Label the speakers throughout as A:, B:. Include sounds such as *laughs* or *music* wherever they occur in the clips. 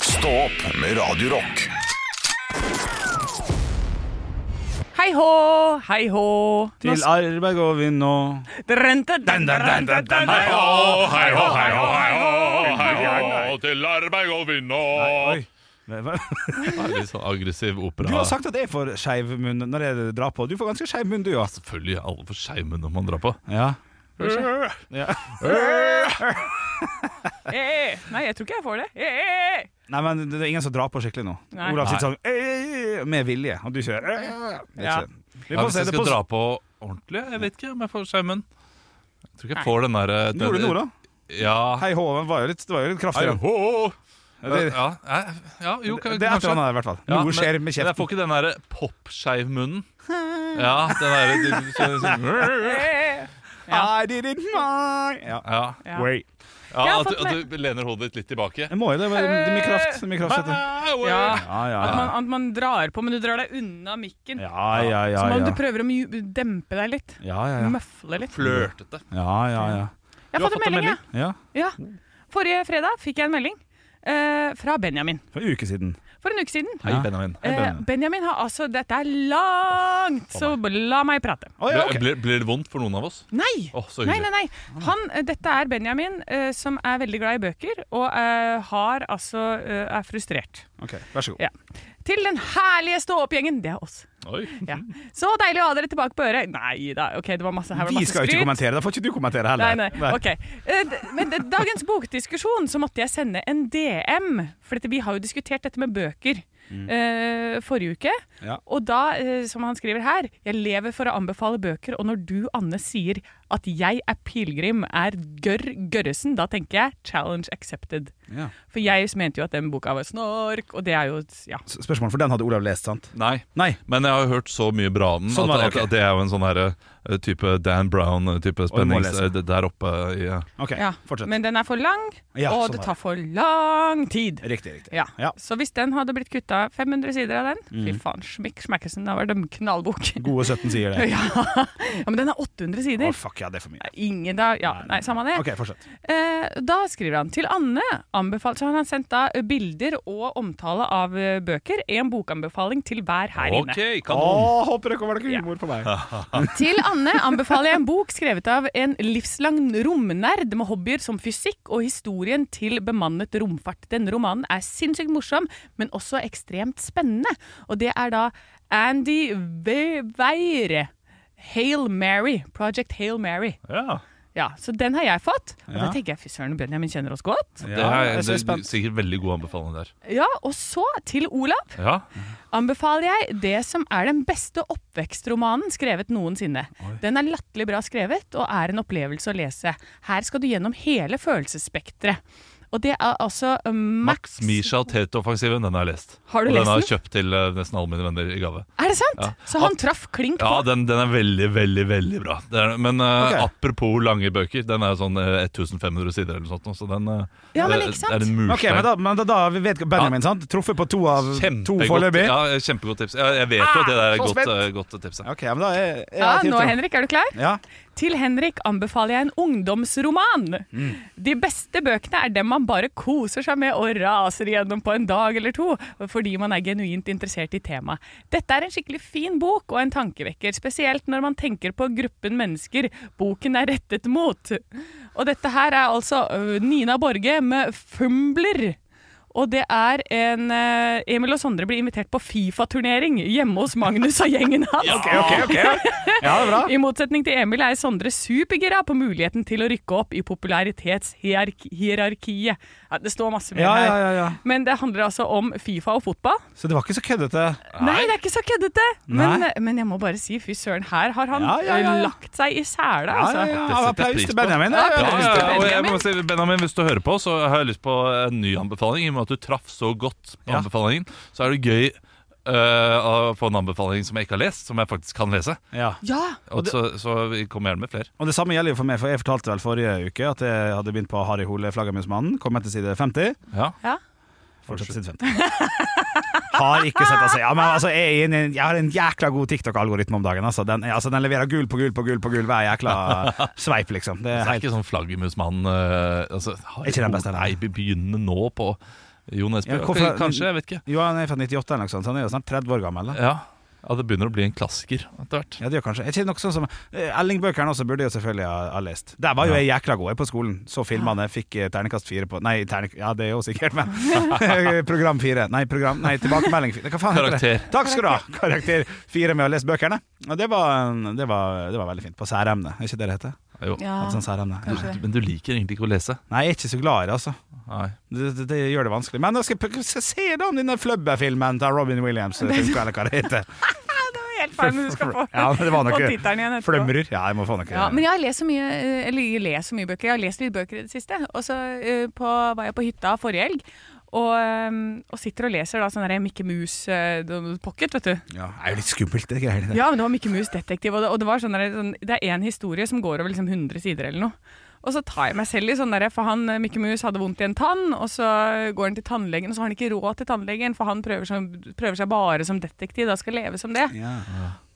A: Stå opp med Radio Rock.
B: Hei hå, hei hå. Nå
C: Til arbeid går vi nå.
B: sprente den, den, den, den, den, hei hå, hei hå, hei hå, hei hå.
D: til arbeid går vi nå.
C: Oi. Hva-
D: *laughs*
C: hva-
D: Litt sånn aggressiv opera.
C: Du har sagt at jeg får skeiv munn når jeg drar på. Du får ganske skeiv munn, du òg.
D: Selvfølgelig er alle for skeive når man drar på.
C: Ja.
B: Eh, Nei, jeg tror ikke jeg får det. Eh,
C: Nei, men det er ingen som drar på skikkelig nå.
B: Nei.
C: Olav sitter
D: Nei.
C: sånn «Ei», med vilje, og du kjører «Ei». Det er
B: Ja.
C: ikke- Vi får
D: Ja, hvis
C: se
D: jeg
C: det
D: skal
C: på
D: dra på ordentlig, jeg vet ikke om jeg får skeiven. Jeg tror ikke jeg får den der eh, den-
C: Gjorde du noe, da?
D: Ja.
C: Hei hå, men var jo litt, det var jo litt kraftig.
D: Hei,
C: da.
D: hå.
C: Det,
D: Ja, jeg- ja, jo,
C: det det er et eller annet, i hvert fall.
D: Ja,
C: Noe
D: men-
C: skjer med
D: men Jeg
C: kjeften.
D: får ikke den derre popskeivmunnen. Ja, den derre du- du kjenner sånn-
B: eh, eh. Ja.
C: I did it my ja.
D: Ja,
B: Ja.
C: Wait.
D: ja
B: har
D: at,
B: fått
D: du, at du lener hodet ditt litt tilbake.
C: Jeg må jo det. Det er mye kraft. Det er mye kraft i dette.
B: Ja.
D: Ja.
C: Ja, ja,
B: At man,
C: ja.
B: at man drar på, men du drar deg unna mikken.
C: Ja, ja, ja.
B: Som om
C: ja.
B: du prøver å mju- dempe deg litt.
C: Ja, ja, ja.
B: Møfle litt.
D: Flørtete.
C: Ja, ja, ja.
B: Jeg
D: Du har
B: har fått en
D: fått en
B: melding, jeg.
C: ja.
B: Ja. Forrige fredag fikk jeg en melding eh, fra Benjamin.
C: For en uke siden.
B: For en uke siden.
C: Hei, Ja.
D: Benjamin.
C: Hei,
B: Eh,
C: Benjamin.
B: Benjamin har altså Dette er langt, så la meg prate.
C: Å, ja, ok.
D: blir, blir det vondt for noen av oss?
B: Nei!
D: Åh, så
B: Nei, nei,
D: hyggelig.
B: nei. Han, eh, dette er Benjamin, eh, som er veldig glad i bøker, og eh, har altså eh, er frustrert.
C: Ok, Vær så god.
B: Ja. Til den herlige stå-opp-gjengen. Det er oss.
D: Oi.
B: Ja. Så deilig å ha dere tilbake på øret. Nei da, ok, det var masse, her var det
C: Mm. Vi
B: masse
C: skal jo ikke
B: skryt.
C: kommentere, da får ikke du kommentere
B: Nei,
C: heller.
B: nei, ok. Eh, d- Men d- dagens bokdiskusjon så måtte jeg sende en DM, for dette, vi har jo diskutert dette med bøker eh, forrige uke.
C: Ja.
B: Og da, eh, som han skriver her, jeg lever for å anbefale bøker, og når du, Anne, sier at jeg er pilegrim, er gørr Gørresen, da tenker jeg challenge accepted.
C: Ja.
B: For jeg mente jo at den boka var snork, og det er jo, ja.
C: S- Spørsmål, for den hadde Olav lest, sant?
D: Nei.
C: Nei.
D: Men jeg har hørt så mye bra om den
C: Sånn var det,
D: at,
C: ok.
D: at, at det er jo en sånn herre eh, type Dan Brown-type
C: du må
D: spenning
C: lese.
D: eh, det der oppe i eh,
C: Ok,
B: ja.
C: fortsett.
B: Men den er for lang,
C: Ja,
B: og
C: sånn
B: det
C: er
B: tar for lang tid.
C: Riktig, riktig.
B: Ja.
C: Ja.
B: Så hvis den hadde blitt kutta 500 sider av den Fy faen, smikk smekkelsen, det har vært en knallbok.
C: Gode 17 sier det.
B: *laughs* ja. ja, men den er 800
C: Å,
B: sider.
C: fuck, ja, det er for mye.
B: Ingen da Ja, nei, samme det.
C: Ok, fortsett.
B: Eh, da skriver han til Anne anbefalt, Så han har sendt da bilder og omtale av eh, bøker. En bokanbefaling til hver her inne.
D: OK,
C: Å,
D: kanon!
C: håper det kommer noe humor på meg.
B: Til Anne anbefaler jeg en bok skrevet av en livslang romnerd med hobbyer som fysikk og historien til bemannet romfart. Denne romanen er sinnssykt morsom, men også ekstremt spennende. Og det er da Andy Ve- Weire. Hail Mary. Project Hail Mary.
D: Ja.
B: Ja, Så den har jeg fått. Og da
C: Ja.
B: tenker jeg fy søren, Benjamin kjenner oss godt.
D: Det er,
C: jeg
D: det
C: er så
D: er
C: spent.
D: sikkert veldig god anbefaling der.
B: Ja, Og så til Olav
D: Ja.
B: anbefaler jeg det som er den beste oppvekstromanen skrevet noensinne. Den er latterlig bra skrevet og er en opplevelse å lese. Her skal du gjennom hele følelsesspekteret. Og det er altså eh, Max,
D: Max Misha Tete-offensiven, den har jeg lest.
B: Har du
D: Og
B: lest
D: den har
B: den?
D: jeg kjøpt til eh, nesten alle mine venner i gave.
B: Er det sant?
D: Ja.
B: Så han traff klink på?
D: Ja, den, den er veldig, veldig veldig bra. Det er, men eh,
C: Ok.
D: apropos lange bøker, den er sånn eh, 1500 sider eller noe sånt. nå, Så den eh,
B: Ja, men
D: det-
B: ikke sant?
D: det er en murstein.
C: Ok, men da, men da, da vi vet Benjamin, sant? Truffet på to av to
D: Kjempegodt,
C: foreløpig?
D: ja, kjempegodt tips. Jeg, jeg vet jo at det der
C: Ah,
D: er
C: så
D: godt,
C: spent.
D: eh, godt tips. ja.
C: Ok, men da er, er
B: Ja,
C: jeg
B: nå
C: tiltro.
B: Henrik, er du klar?
C: Ja.
B: Til Henrik anbefaler jeg en ungdomsroman. De beste bøkene er dem man bare koser seg med og raser igjennom på en dag eller to, fordi man er genuint interessert i temaet. Dette er en skikkelig fin bok og en tankevekker, spesielt når man tenker på gruppen mennesker boken er rettet mot. Og dette her er altså øh, Nina Borge med 'Fumbler'. Og det er en eh, Emil og Sondre blir invitert på Fifa-turnering hjemme hos Magnus og gjengen hans.
C: Ok, ok, ok. Ja, det er bra.
B: I motsetning til Emil er Sondre supergira på muligheten til å rykke opp i popularitetshierarkiet. Ja, det står masse mer
C: Ja, ja,
B: her.
C: ja, ja.
B: Men det handler altså om Fifa og fotball.
C: Så det var ikke så køddete.
B: Nei, det er ikke så køddete! Men, eh,
C: Nei.
B: men jeg må bare si, fy søren, her har han
C: Ja, ja, ja, ja.
B: lagt seg i sela,
C: Ja,
B: altså.
C: ja, ja.
D: setter jeg
C: Applaus
D: pris
C: til
D: på.
C: Benjamin. Ja,
D: Ja,
C: ja,
D: ja, ja, og jeg
B: Benjamin.
D: må si, Benjamin, hvis du hører på, så har jeg lyst på en ny anbefaling. I og med at du traff så godt på
C: Ja.
D: anbefalingen, så er det gøy øh, å få en anbefaling som jeg ikke har lest, som jeg faktisk kan lese.
C: ja.
B: Ja,
D: Og så, så vi kommer gjerne med flere.
C: Og det samme gjelder jo for meg, for jeg fortalte vel forrige uke at jeg hadde begynt på Harry Hole, flaggermusmannen. Kom jeg til side 50.
D: Ja.
B: ja.
C: Fortsatt side 50. Har ikke sett altså. Ja, men altså, jeg, er inne i en- jeg har en jækla god TikTok-algoritme om dagen. Altså. Den, altså, den leverer gull på gull på gull på gull hver jækla sveip, liksom. Det
D: Så
C: er
D: det er
C: helt
D: ikke sånn flaggermusmann øh, eh, altså, har-
C: Ikke den beste,
D: Nei,
C: nei.
D: begynne nå på Jo Nesbø?
C: Ja, hvorfor-
D: Ok, Kanskje, jeg vet ikke.
C: Jo, han er fra 98 eller noe sånt, så han er jo snart 30 år gammel. Da.
D: Ja, ja Det begynner å bli en klassiker etter hvert.
C: Ja, det gjør kanskje. Jeg kjenner noe sånn som eh, Elling-bøkene også burde jeg jo selvfølgelig ha, ha lest. Der var jo jeg jækla god jeg på skolen. Så filmene, fikk eh, terningkast fire på Nei, terning, ja, det er jo sikkert, men *laughs* Program fire. Nei, program, nei tilbakemelding fire. Hva faen heter det?
D: Karakter.
C: Takk skal du ha! Karakter fire med å lese bøkene. Og det var, det var, det var veldig fint. På særemne, er ikke det det heter?
D: Jo.
B: Ja,
C: Et sånt særemne.
B: Ah. kanskje det.
D: Men du liker egentlig ikke å lese?
C: Nei, jeg er ikke så glad i det, altså.
D: Nei.
C: Det, det, det gjør det vanskelig. Men da skal jeg skal jeg se da om denne flubberfilmen til Robin Williams eh, funker, eller hva det heter.
B: Det var helt feil, men du
C: *laughs*
B: skal få,
C: Ja, det var
B: *laughs*
C: nok
B: få
C: det.
B: tittelen igjen etterpå.
C: Flømrer. Ja, jeg må få noe.
B: Ja, men jeg har lest så mye, eh, eller jeg leser så mye bøker. Jeg har lest litt bøker i det siste. Og så eh, på, var jeg på hytta forrige helg. Og, eh, og sitter og leser da sånn der Mikke Mus eh, pocket, vet du.
C: Ja, det er jo litt skummelt, det greiene der.
B: Ja, men det var Mikke Mus detektiv, og det, og det var sånn der, sånn, det er én historie som går over liksom 100 sider eller noe. Og så tar jeg meg selv i sånn der, for han, eh, Mikke Mus hadde vondt i en tann, og så går han til tannlegen, og så har han ikke råd til tannlegen, for han prøver, som, prøver seg bare som detektiv, da skal leve som det.
C: Ja.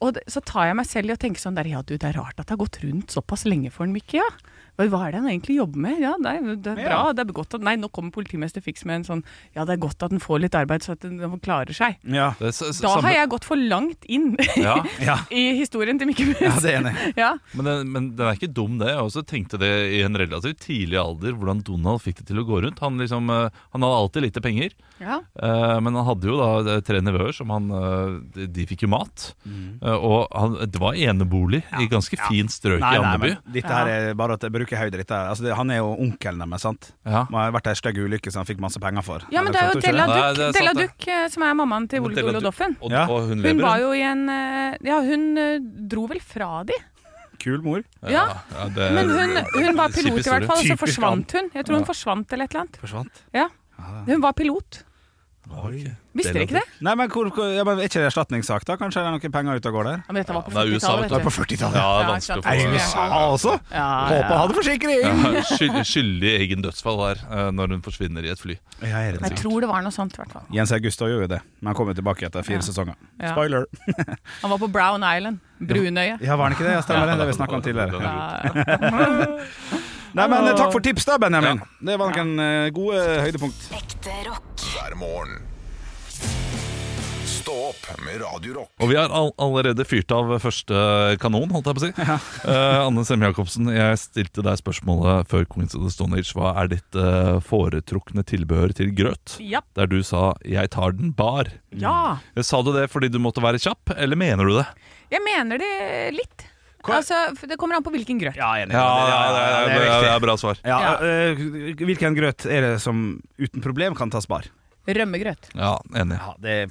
B: Og det, så tar jeg meg selv i å tenke sånn der, ja du, det er rart at det har gått rundt såpass lenge for en Mikke, ja. Hva hva er det han egentlig jobber med? Ja, det er, det er
C: Ja.
B: bra, det er godt at, nei, nå kommer politimester Fix med en sånn, ja det er godt at den får litt arbeid så at den den klarer seg.
C: Ja.
D: Det er s- s-
B: Da
D: samme-
B: har jeg gått for langt inn *laughs*
D: ja.
C: Ja.
B: i historien til Mikke Mus.
C: ja, det er
B: *laughs*
C: enig.
B: Ja.
D: men, den, men den er ikke dum, det. Jeg også tenkte det i en relativt tidlig alder, hvordan Donald fikk det til å gå rundt. Han, liksom, eh, han hadde alltid lite penger,
B: Ja.
D: eh, men han hadde jo da eh, tre nevøer som han eh, De de fikk jo mat.
C: Mm.
D: Eh, Og han, det var enebolig i ganske fint strøk i Andeby.
C: men dette her er bare at jeg bruker høyde ditt her. Altså, det, han er jo onkelen deres, sant?
D: Ja.
C: Han har vært ei stygg ulykke som han fikk masse penger for.
B: ja, men det er jo
C: Eller,
B: Della
C: forstår du
B: Duck,
C: ikke
D: Nei, det er sant,
B: Della
D: det.
B: Duck eh, som er mammaen til Ole Ole Doffen.
D: Og,
C: Ja.
D: og hun lever.
B: Hun var jo i en, eh, ja hun eh, dro vel fra de.
C: det? Kul mor.
B: Ja,
D: ja, det-
B: men hun, hun var
D: Kjip
B: pilot i hvert
D: historie.
B: fall, og så
C: Typisk han.
B: forsvant hun. Jeg tror hun forsvant eller et eller annet.
C: Forsvant.
B: Ja, hun var pilot.
D: Ok.
B: Visste dere ikke det?
C: Nei, men, hvor, hvor, ja, men Er ikke det erstatningssak, da? Kanskje det er noen penger ute og går der?
B: Ja, men dette var på
D: Ja, det er USA,
B: 40-tallet, vet
D: vet du.
B: du.
C: 40-tallet.
D: Ja,
B: Ja,
D: vanskelig
B: ikke sant.
D: å få
B: Er det
C: USA også!
B: Ja,
C: Håper han hadde forsikring!
D: Ja, skyld, skyldig egen dødsfall her eh, når hun forsvinner i et fly.
C: Ja, er det
B: Jeg
C: det?
B: tror det var noe sånt, i hvert fall.
C: Jens August gjorde jo det, men han kom jo tilbake etter fire
B: Ja.
C: sesonger.
B: Ja.
C: Spoiler!
B: Han var på Brown Island. Brunøye.
C: Ja, var han ikke det? Ja, stemmer det. Det vi snakka om tidligere.
B: Ja,
D: Ja.
C: Nei, men eh, takk for tips, da, Benjamin. Det var noen eh, gode høydepunkt.
E: Ekte rock.
A: hver morgen. Stå opp med Radio Rock.
D: Og vi har all allerede fyrt av første kanon, holdt jeg på å si. *laughs* Eh, Anne Semme Jacobsen, jeg stilte deg spørsmålet før Queens of the Stone Age. Hva er ditt eh, foretrukne tilbehør til grøt?
B: ja.
D: Der du sa 'jeg tar den bar'.
B: ja.
D: Sa du det fordi du måtte være kjapp, eller mener du det?
B: Jeg mener det litt. Altså, for det kommer an på hvilken grøt.
C: Ja, enig.
D: det, er, det er bra svar.
C: Ja,
B: Ja.
C: øh, Hvilken grøt er det som uten problem kan tas bar?
B: Rømmegrøt.
D: Ja, Enig.
C: Ja, det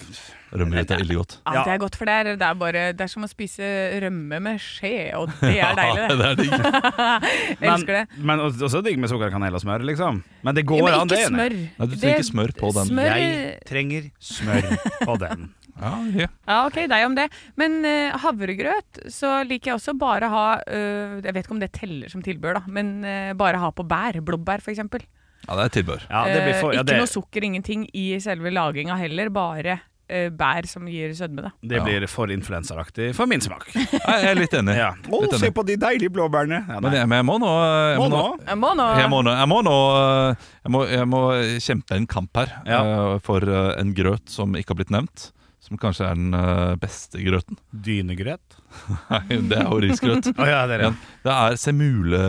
D: Rømmegrøt er ille godt.
B: Ja,
C: Ja.
B: Det er godt, for det er, det, er bare, det er som å spise rømme med skje, og det er deilig, det.
D: *laughs* det er digg.
C: *laughs*
B: Jeg elsker det.
C: Men også digg med sukkerkanel og smør, liksom. Men det går
B: Ja, men
C: an, det.
B: ikke
C: er enig.
B: smør.
D: Nei, du trenger
B: Det-
D: ikke smør på den.
B: Smør eh.
C: Jeg trenger smør på den.
D: Ja, ok.
B: Ja, ok, deg om det. Men eh, havregrøt så liker jeg også bare ha eh, Jeg vet ikke om det teller som tilbør, da, men eh, bare ha på bær. Blåbær, for eksempel.
D: ja det er tilbehør.
C: Ja, det blir for,
B: Eh,
C: ja,
B: ikke
C: det,
B: noe sukker, ingenting i selve laginga heller. Bare eh, bær som gir sødme, da.
C: det blir for influenseraktig for min smak.
D: Nei, Jeg er litt enig.
C: Ja. Å,
D: Litt enig.
C: på de deilige blåbærene! Ja,
D: Men
C: nei.
D: jeg, men jeg må nå jeg
C: Må
D: må,
C: nå.
B: Jeg må nå
D: jeg må
C: Ah.
D: nå, jeg må, nå eh, jeg, må, jeg må kjempe en kamp her
C: Ja.
D: eh, for eh, en grøt som ikke har blitt nevnt. Som kanskje er den eh, beste grøten. *laughs*
C: Dynegrøt?
D: Nei, det er jo risgrøt.
C: Å ja, *laughs* det er det.
D: Det er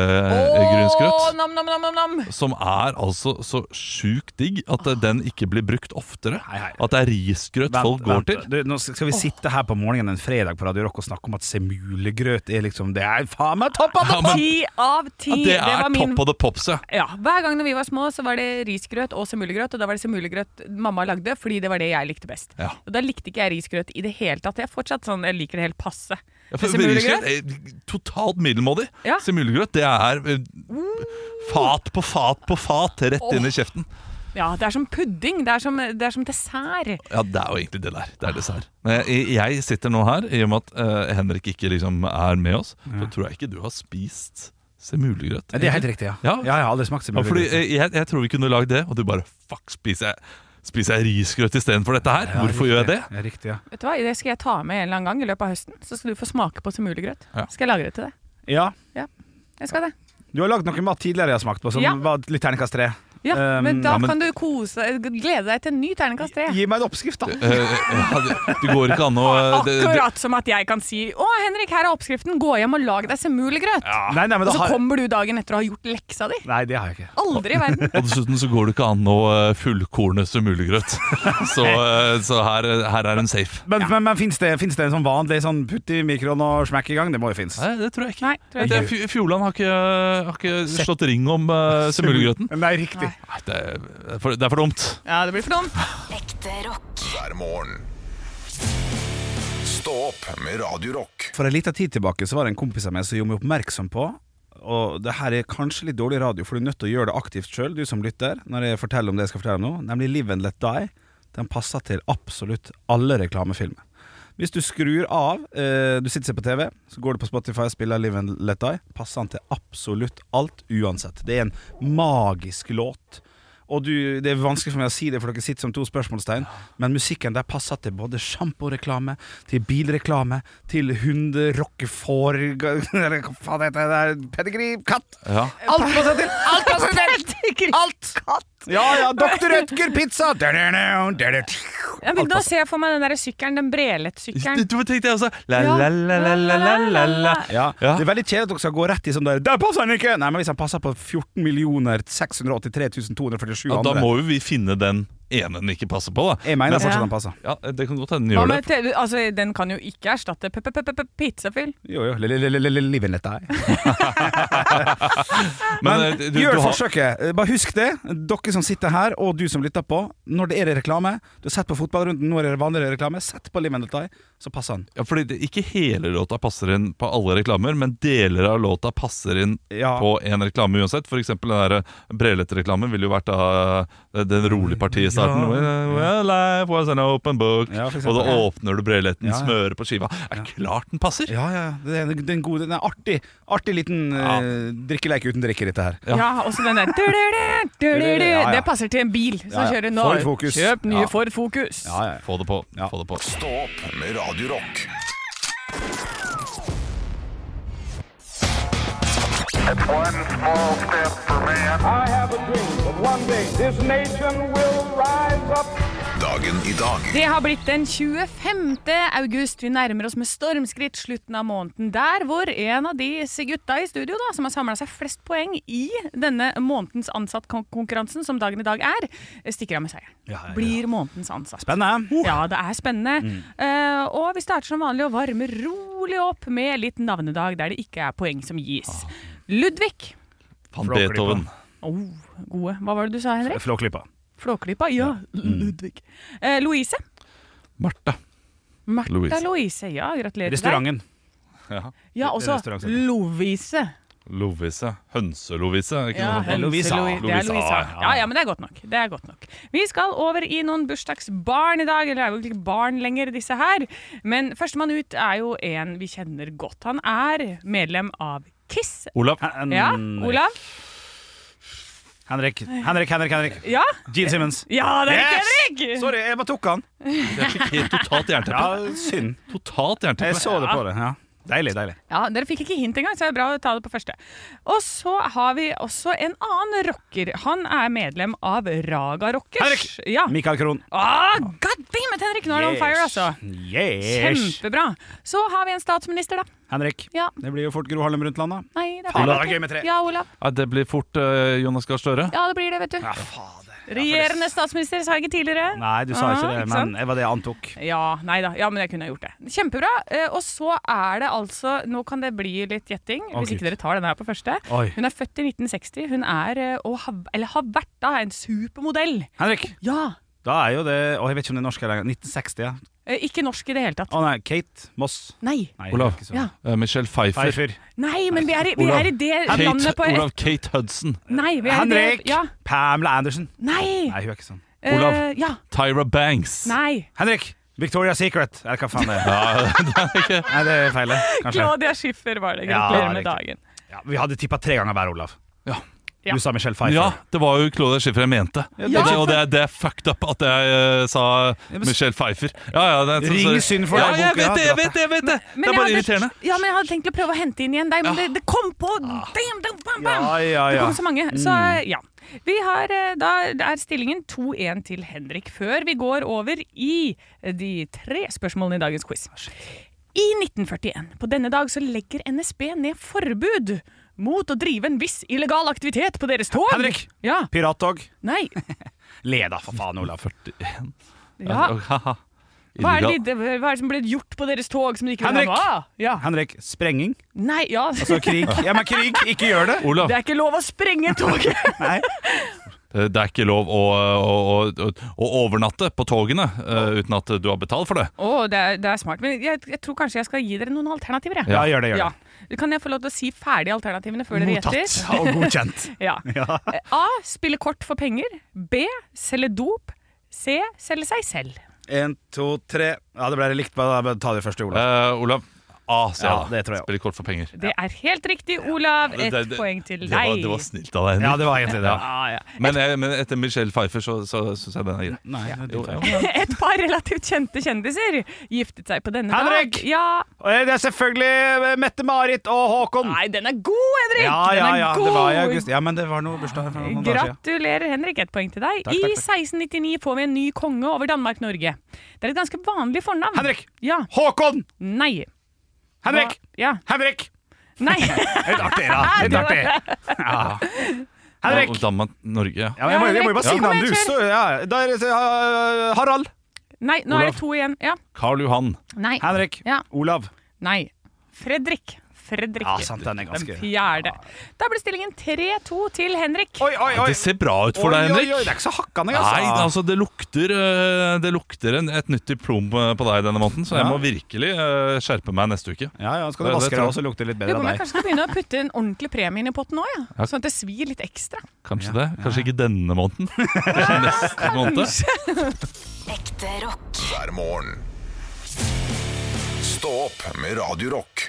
D: semulegrynsgrøt.
B: nam, nam, nam, nam, nam.
D: Som er altså så sjukt digg at eh, den ikke blir brukt oftere.
C: Hei, hei.
D: At det er risgrøt
C: Ah. Vent,
D: folk går
C: vent.
D: til.
C: Du, nå skal vi sitte her på morgenen en fredag på Radio Rock og snakke om at semulegrøt er liksom Det er faen meg topp av det!
D: Ja, men-
B: Ti av ti!
D: Ja, det er
B: var min-
D: topp of the pops, ja.
B: ja, Hver gang når vi var små, så var det risgrøt og semulegrøt. Og da var det semulegrøt mamma lagde, fordi det var det jeg likte best.
D: Ja.
B: Og da likte ikke jeg risgrøt i det hele tatt. Jeg er fortsatt sånn, jeg liker det helt passe.
D: Ja, for
B: Semulegrøt?
D: risgrøt er totalt middelmådig.
B: Ja.
D: Semulegrøt, det er eh, fat på fat på fat rett inn i kjeften.
B: Ja, det er som pudding. Det er som, det er som dessert.
D: Ja, det er jo egentlig det der. Det er dessert. Men jeg, jeg sitter nå her, i og med at eh, Henrik ikke liksom er med oss, så tror jeg ikke du har spist semulegrøt.
C: Det er helt riktig, ja.
D: Ja.
C: jeg har aldri smakt
D: Ja, fordi
C: semulegrøt.
D: eh, jeg, jeg tror vi kunne lagd det, og du bare Fuck, spiser jeg, spiser jeg risgrøt istedenfor dette her?
C: Ja,
D: Hvorfor gjør jeg det?
C: riktig. Ja, riktig, ja.
B: Vet du hva, Det skal jeg ta med en eller annen gang i løpet av høsten. Så skal du få smake på semulegrøt.
D: Ja.
B: Skal jeg lage det til deg?
C: ja.
B: Ja, jeg skal det.
C: Du har lagd noe mat tidligere jeg har smakt på, som
B: Ja.
C: var litt terningkast tre.
B: Ja,
C: Um,
B: men da
D: ja, men-
B: kan du kose glede deg til en ny terningkast tre.
C: Gi meg en oppskrift, da.
D: Eh, ja, det, det går ikke an å eh, det, det,
B: Akkurat som at jeg kan si 'Å, Henrik, her er oppskriften. Gå hjem og lag deg semulegrøt.'
C: Nei, nei, men
B: Og
C: da
B: så
C: har-
B: kommer du dagen etter og har gjort leksa di.
C: Nei, det har jeg ikke.
B: Aldri i
D: *laughs*
B: verden.
D: Og dessuten så går det ikke an å eh, fullkorne semulegrøt. Så, eh, så her, her er en safe.
C: Men, men, men fins det, finnes det en sånn vanlig sånn putt i mikroen og smekk i gang? Det må jo finnes.
D: Nei, det tror jeg ikke.
B: Nei, tror jeg
D: Det er
B: ikke.
D: Fj- Fjordland har ikke, eh, har ikke slått ring om uh, semulegrøten.
C: Nei, riktig.
D: Nei, det, er for, det er for dumt.
B: Ja, det blir for dumt.
E: Ekte rock.
A: hver morgen. Stå opp med Radio Rock.
C: For en liten tid tilbake så var det en kompis av meg som gjorde meg oppmerksom på Og det her er kanskje litt dårlig radio, for du er nødt til å gjøre det aktivt sjøl, du som lytter, når jeg forteller om det jeg skal fortelle om nå, nemlig Live and Let Die. Den passer til absolutt alle reklamefilmer. Hvis du skrur av, eh, du sitter og ser på TV, så går du på Spotify og spiller Live and Let Die, passer den til absolutt alt uansett. Det er en magisk låt. Og du, Det er vanskelig for meg å si det, for dere sitter som to spørsmålstegn, men musikken der passer til både sjamporeklame, til bilreklame, til hunderockefor... Hva faen heter det der? Pedigree? Katt?
D: Ja.
C: Alt passer til! Alt passer til!
B: Pedigree,
C: Alt! Ja, ja. Dr. Rødger pizza! Ja,
B: Ja, men da ser jeg for meg den der sykkelen, den brelettsykkelen.
D: Det tenkte jeg også. La,
B: Ja.
D: la, la, la, la, la, la, la.
C: Ja.
D: Ja.
C: Det er veldig kjedelig at dere skal gå rett i sånn der Der passer han ikke! Nei, men hvis han passer på 14 683 247
D: Ja, da
C: andre
D: må jo vi finne den ene den ikke passer på, da.
C: Jeg mener
D: Men-
C: fortsatt
B: Ja.
C: han passer.
D: ja, det kan godt hende den
B: Hva
D: gjør
B: med
D: det.
B: TV Altså, den kan jo ikke erstatte p- p- p- p- pizzafyll.
C: Jo, jo. Livet dette her. Men
D: eh, du- du
C: gjør
D: har-
C: forsøket. Eh, Bare husk det, dere som sitter her, og du som lytter på. Når det er reklame, du har sett på fotballrunden, nå er det vanligere reklame, sett på Livet dette her, så passer han.
D: Ja, fordi det, Ikke hele låta passer inn på alle reklamer, men deler av låta passer inn
C: Ja.
D: på én reklame uansett. For eksempel den der Brelett-reklamen ville jo vært da, den rolige partiet i starten.
C: Ja.
D: Well, well, life was an open book.
C: Ja, for eksempel.
D: og da
C: Ja.
D: åpner du Breletten,
C: Ja, ja.
D: smører på skiva. Er klart den passer!
C: Ja, ja. Det er det er en god, det er en artig, artig liten
D: Ja.
C: eh, drikkeleik uten drikke, dette her.
D: Ja.
B: Ja, også den der du-du-du, du-du-du.
C: Ja, ja.
B: Det passer til en bil som
C: Ja, ja.
B: kjører nå.
C: Ford Focus.
B: Kjøp nye
C: Ja.
B: Ford Focus.
C: Ja, ja.
D: Få det på.
C: Ja.
D: Få det på.
A: Stå opp med Radio Rock.
F: One small step for man.
G: I have a dream that one day this nation will rise up.
A: Dagen i dag
B: Det har blitt den 25. august. Vi nærmer oss med stormskritt slutten av måneden. Der hvor en av de gutta i studio da, som har samla seg flest poeng i denne månedens ansattkonkurransen, som dagen i dag er, stikker av med seieren.
C: Ja, ja, ja.
B: Blir månedens ansatt.
C: Spennende.
B: Ja, det er spennende. Eh, og vi starter som vanlig å varme rolig opp med litt navnedag der det ikke er poeng som gis. Ludvig.
D: Van
C: Flåklypa.
D: Beethoven.
B: Oh, gode. Hva var det du sa, Henrik?
C: Flåklypa.
B: Flåklypa? Ja, Mm. Ludvig. Eh, Louise.
D: Marte.
B: Martha
D: Louise.
B: Louise. Ja, gratulerer til deg.
C: Restauranten.
D: Ja.
B: Ja, også
C: Restaurant-
B: Lovise.
D: Lovise. Hønse-Lovise. er ikke
B: Ja,
D: noe sånt.
B: Helse
C: Lovisa,
B: Louis- Det er
C: Lovisa,
B: Lovisa.
C: ja.
B: Ja, ja, men det er godt nok. Det er godt nok. Vi skal over i noen bursdagsbarn i dag. Eller er jo ikke barn lenger, disse her. Men førstemann ut er jo en vi kjenner godt. Han er medlem av Kiss.
D: Olav.
C: Hen-
B: Ja, Olav?
C: Henrik. Henrik, Henrik, Henrik.
B: Ja?
C: Gene Simmons.
B: Ja, det er
C: Yes!
B: riktig, Henrik!
C: Sorry, jeg bare tok han.
D: Jeg fikk helt totalt jernteppe.
C: Ja, synd.
D: Totalt jernteppe.
C: Jeg så det på det. Ja. Deilig, deilig.
B: Ja, Dere fikk ikke hint engang, så det er bra å ta det på første. Og så har vi også en annen rocker. Han er medlem av Raga Rockers.
C: Henrik!
B: Ja.
C: Mikael Krohn.
B: Ah, God damn it, Henrik! Nå er du on fire, altså.
C: Yes.
B: Kjempebra. Så har vi en statsminister, da.
C: Henrik.
B: Ja.
C: Det blir jo fort Gro Harlem Brundtland, da.
B: Nei, det er
C: Faen,
B: feil.
C: det er gøy med tre.
B: Ja, Olav.
D: Ja, det blir fort eh, Jonas Gahr Støre.
B: Ja, det blir det, vet du.
C: fader.
B: Regjerende statsminister, sa jeg ikke tidligere.
C: Nei, du sa ikke
B: Ah,
C: det,
B: ikke
C: men det var det jeg antok.
B: Ja, nei da. Ja, men jeg kunne ha gjort det. Kjempebra. Eh, Og så er det altså Nå kan det bli litt gjetting,
C: Å,
B: hvis ikke
C: Gud.
B: dere tar denne her på første.
C: Oi.
B: Hun er født i 1960. Hun er, eh, og har, eller har vært da, en supermodell.
C: Henrik,
B: Ja.
C: da er jo det Å, jeg vet ikke om det er norsk eller 1960, ja.
B: Eh, Ikke norsk i det hele tatt.
C: Å nei, Kate Moss.
B: Nei.
C: Nei,
D: Olav.
C: ikke så.
B: Ja.
D: Eh, Michelle Pfeiffer.
C: Pfeiffer.
B: Nei, men vi er i, vi
D: Olav.
B: er i det
D: Kate,
B: landet på
D: Olav Kate Hudson.
B: Nei, vi er i
C: Henrik!
B: det Ja.
C: Pamela Andersen.
B: Nei.
C: Nei, hun er ikke sånn.
B: Eh,
D: Olav.
B: ja.
D: Tyra Banks.
B: Nei.
C: Henrik! Victoria's Secret. Eller hva faen det er.
D: Ja,
C: Nei, det er feil, kanskje.
B: Claudia Schiffer var det.
C: Ja,
B: Gratulerer med
C: riktig.
B: dagen.
C: Ja, vi hadde tippa tre ganger hver, Olav.
D: ja.
B: Ja.
C: Du sa Michelle Pfeiffer.
D: Ja, det var jo Claudia Schiffer jeg mente.
C: Ja,
D: Og, det,
C: det-
D: og det, det er fucked up at jeg eh, sa
C: Ja, men-
D: Michelle Pfeiffer. Ja, ja, det er, sånn-
C: Ring synd for
D: ja,
C: deg,
D: jeg
C: Boke,
D: vet det!
C: ja,
D: jeg vet Det jeg vet det Det
B: Men
D: er
B: jeg
D: bare
B: hadde-
D: irriterende.
B: Ja, men jeg hadde tenkt å prøve å hente inn igjen deg, men det, det kom på damn, damn, bam, bam.
C: Ah. Ja, Mm. ja,
B: Det
C: ja.
B: kom så mange. Så eh, ja. Vi har, eh, da er stillingen 2-1 til Henrik. Før vi går over i eh, de tre spørsmålene i dagens quiz.
C: Ah,
B: I 1941, på denne dag, så legger NSB ned forbud mot å drive en viss illegal aktivitet på deres tog.
C: Henrik!
B: Ja.
C: Pirattog. *laughs*
B: Nei.
C: Le da, for faen, Olav.
D: 41
B: Ja.
D: Haha.
B: Hva, er det,
D: Illegal.
B: de- hva er det som ble gjort på deres tog som de ikke
C: Henrik!
B: ville ha? Ja.
C: Henrik, sprenging.
B: Nei, ja.
C: Så krig. Ja, men krig, ikke gjør det!
B: *laughs*
D: Olav,
B: Det er ikke lov å sprenge toget!
C: Nei.
D: eh, det er ikke lov å, å, å, å overnatte på togene eh, uten at du har betalt for det.
B: *laughs* Å, det, er- det er smart. Men jeg, jeg tror kanskje jeg skal gi dere noen alternativer. Jeg.
C: Ja, gjør det, gjør det.
B: Ja. Kan jeg få lov til å si ferdig alternativene før dere
C: Mottatt
B: gjetter?
C: og godkjent.
B: Ja.
C: Ja.
B: Eh, A. Spille kort for penger. B. Selge dop. C. Selge seg selv.
C: *laughs* En, to, tre. Ja, det ble likt. Bare ta det første, Olav.
D: Eh, Olav, A,
C: Ah,
D: sier
C: Ja,
D: jeg da.
C: det tror jeg også.
D: Spiller kort for penger.
B: Det er helt riktig, Olav. Ett
D: Det- det-
B: poeng til
D: det
B: deg.
D: var- Det var snilt av deg, Henrik.
C: Ja, det var egentlig det. ja.
B: Ah, ja.
D: Men, jeg, men etter Michelle Pfeiffer så, så syns jeg den er grei.
C: Nei,
D: Jo,
C: det er
D: jo.
C: feil.
B: *laughs* Et par relativt kjente kjendiser giftet seg på denne
C: Henrik!
B: dag. Ja.
C: Og det er selvfølgelig eh, Mette-Marit og Håkon.
B: Nei, den er god, Henrik!
C: Ja,
B: Den
C: ja,
B: er
C: ja.
B: god!
C: Det var i august. Ja, men det var noe bursdag for noen dager siden.
B: Gratulerer, Henrik. Ett poeng til deg.
C: Takk, takk, takk.
B: I 1699 får vi en ny konge over Danmark-Norge. Det er et ganske vanlig fornavn.
C: Henrik!
B: Ja.
C: Håkon!
B: Nei.
C: Henrik!
B: Hva- Ja.
C: Henrik! *laughs*
B: Nei.
C: Litt artig,
B: *laughs*
C: da. Litt artig. Ja. Henrik!
D: Og Danmark, Norge. ja.
C: Ja, men jeg, må, jeg må jo bare si
B: Ja, kom
C: navnet
B: igjen,
C: du.
B: kjør.
C: Så, ja. Der, eh, Harald.
B: Nei, nå er
D: Olav.
B: det to igjen. Ja.
D: Karl Johan.
B: Nei.
C: Henrik.
B: Ja.
C: Olav.
B: Nei. Fredrik. Fredrik.
C: Ja, sant, den er
B: Den
C: ganske
B: fjerde. Da ble stillingen 3-2 til Henrik.
C: Oi, oi, oi.
D: Det ser bra ut for
C: Oi, oi,
D: deg, Henrik.
C: oi, Det er ikke så hakkende,
D: Nei,
C: altså.
D: altså det lukter, øh, det lukter en, et nytt diplom øh, på deg denne måneden, så jeg
C: Ja.
D: må virkelig øh, skjerpe meg neste uke.
C: Ja, ja, skal du
D: Det- det
C: vaske
D: tror
C: deg
D: jeg.
C: også, lukter litt
B: Du
C: bedre
B: kan
C: av deg.
B: kanskje begynne å putte en ordentlig premie inn i potten òg, ja.
D: Ja.
B: sånn at det svir litt ekstra.
D: Kanskje det. Kanskje ikke denne
C: *laughs*
D: måneden. Kanskje neste måned.
E: Ekte rock.
A: hver morgen. Stå opp med Radio Rock.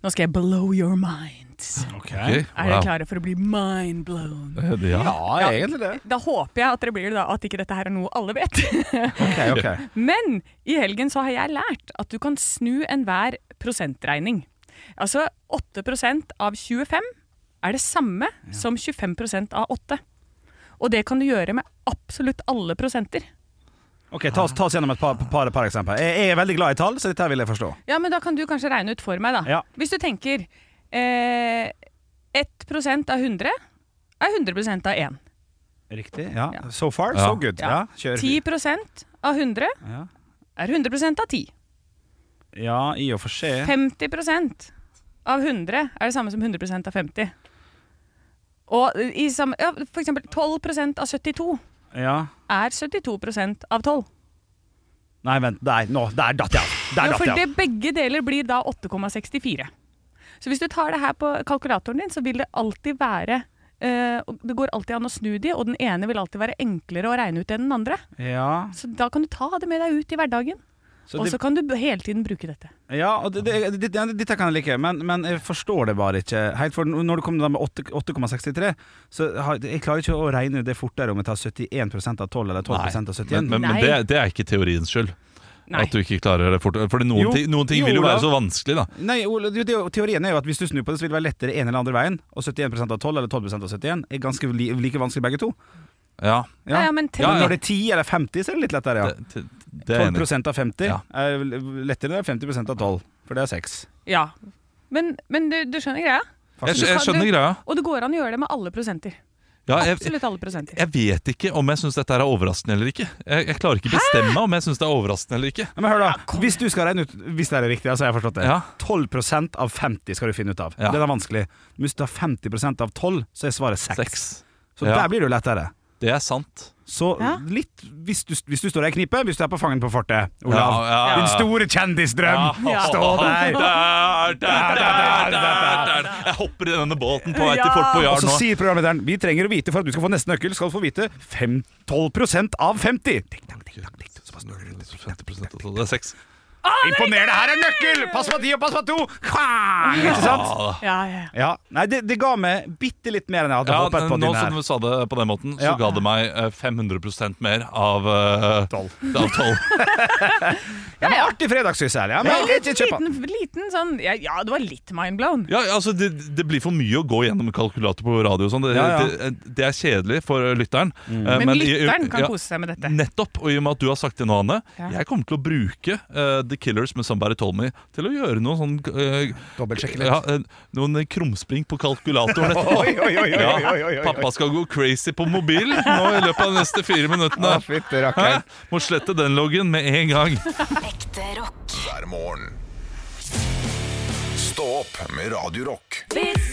B: Nå skal jeg blow your minds.
D: Ok,
B: Er dere
D: wow.
B: klare for å bli mind blown?
D: Eh, Ja.
C: Ja, egentlig det.
B: Da håper jeg at dere blir det, da, at ikke dette her er noe alle vet. *laughs*
C: Ok, ok.
B: Men i helgen så har jeg lært at du kan snu enhver prosentregning. Altså 8 av 25 er det samme som 25 av 8. Og det kan du gjøre med absolutt alle prosenter.
C: Ok, Ta oss, ta oss gjennom et par, par, par eksempler. Jeg, jeg er veldig glad i tall, så dette her vil jeg forstå.
B: Ja, men da kan du kanskje regne ut for meg, da.
C: Ja.
B: Hvis du tenker eh, 1 av 100 er 100 av 1.
C: Riktig. Ja.
B: Ja.
C: So far,
D: Ja.
C: so good. Ja, kjør.
B: 10 av 100
C: Ja.
B: er 100 av 10.
C: ja, i og for seg.
B: 50 av 100 er det samme som 100 av 50. Og i samme, ja, for eksempel 12 av 72
C: Ja.
B: er 72 av 12.
C: Nei, vent. Nei, nå, der datt jeg av. Der
B: Ja, for
C: datt jeg
B: det begge deler blir da 8,64. Så hvis du tar det her på kalkulatoren din, så vil det alltid være eh, og Det går alltid an å snu de, og den ene vil alltid være enklere å regne ut enn den andre.
C: av. Ja,
B: Så da kan du ta det med deg ut i hverdagen,
C: så
B: og
C: det,
B: så kan du b- hele tiden bruke dette.
C: ja og det, det, det, det, dette kan jeg like, men, men jeg forstår det bare ikke helt. For når du kommer da med åtte- 8,63, så har, jeg klarer ikke å regne ut det fortere om jeg tar 71 av 12 eller 12 av 71.
D: Men, men, men
B: Nei.
D: det, det er ikke teoriens skyld.
B: Nei.
D: At du ikke klarer det fort. Fordi noen,
C: Jo.
D: ting- noen ting
C: Jo,
D: vil jo være
C: Olav.
D: så vanskelig, da.
C: Nei, Ole, det, det, Teorien er jo at hvis du snur på det, så vil det være lettere en eller andre veien. Og 71 av 12 eller 12 av 71 er ganske li, like vanskelig begge to.
D: Ja,
B: Ja, ja, men
D: Ja,
C: Men
D: ja.
C: Når det er 10 eller 50, så er det litt lettere, ja.
D: det, det, det er jeg
C: 12
D: enig i.
C: av 50
D: Ja.
C: er lettere enn 50 av 12, for det er 6.
B: ja. Men, men du, du skjønner greia?
D: Jeg, skj- jeg
B: Du kan
D: skjønner
B: jo-
D: greia.
B: Og det går an å gjøre det med alle prosenter.
D: Ja, jeg,
B: Absolutt alle prosenter.
D: jeg vet ikke om jeg syns dette her er overraskende eller ikke. Jeg, jeg klarer ikke bestemme om jeg syns det er overraskende eller ikke.
C: Ja, Men hør da, Hvis du skal regne ut Hvis det er riktig, altså jeg har forstått det.
D: Ja.
C: 12 av 50 skal du finne ut av.
D: Ja.
C: Det er vanskelig. Men hvis du har 50 av 12, så er svaret 6.
D: Seks.
C: Så
D: Ja.
C: der blir det jo lettere.
D: Det er sant.
C: Så
B: Ja.
C: litt hvis du, hvis du står der i knipe, hvis du er på fangen på fortet,
D: Ja,
C: Olav.
D: ja, ja.
C: Din store kjendisdrøm! Stå der!
D: Der, der,
C: der,
D: der, der, der. Jeg hopper i denne båten på vei til
B: Ja.
D: Fort
C: Og
D: Boyard
C: så
D: nå.
C: sier programlederen Vi trenger å vite for at du skal få neste nøkkel, skal du få vite fem- 12 av 50. Tikk, takk, tikk, takk, tikk, såpass nå.
D: 50% altså, Det er seks.
C: Imponerende! Her er nøkkel! Pass på ti og pass på to! Kvang! Ikke sant?
D: Ja,
B: Ja, ja.
C: Ja, nei, det, det ga meg bitte litt mer enn jeg hadde
D: Ja,
C: håpet på.
D: nå
C: Dine her.
D: som du sa det på den måten, så
C: Ja.
D: ga det meg eh, 500 mer av Tolv. Av 12.
C: Ja, men artig fredagssyse her. Ja, men, ikke kjøp den.
B: Liten, liten sånn ja, ja, det var litt mindblown.
D: Ja, altså, det, det blir for mye å gå gjennom kalkulator på radio. og Sånn. Det,
C: Ja, Mm. ja.
D: Det, det er kjedelig for lytteren. eh,
B: Men
D: i-
B: lytteren kan
D: ja,
B: kose seg med dette.
D: Nettopp, og i og med at du har sagt det nå, Anne
B: Ja.
D: Jeg kommer til å bruke eh, The Killers med Somebody Told Me til å gjøre noe sånn eh,
C: Dobbeltsjekke
D: ja, eh, Noen krumspring på kalkulatoren etterpå.
C: *laughs* Oi, oi, oi, oi, oi, oi,
D: Ja,
C: oi.
D: pappa skal gå crazy på mobilen nå i løpet av de neste fire minuttene.
C: Å, fytti rakkeren.
D: Hæ? Må slette den loggen med en gang.
E: Ekte rock.
A: hver morgen. Stå opp med Radio Rock.
B: Vits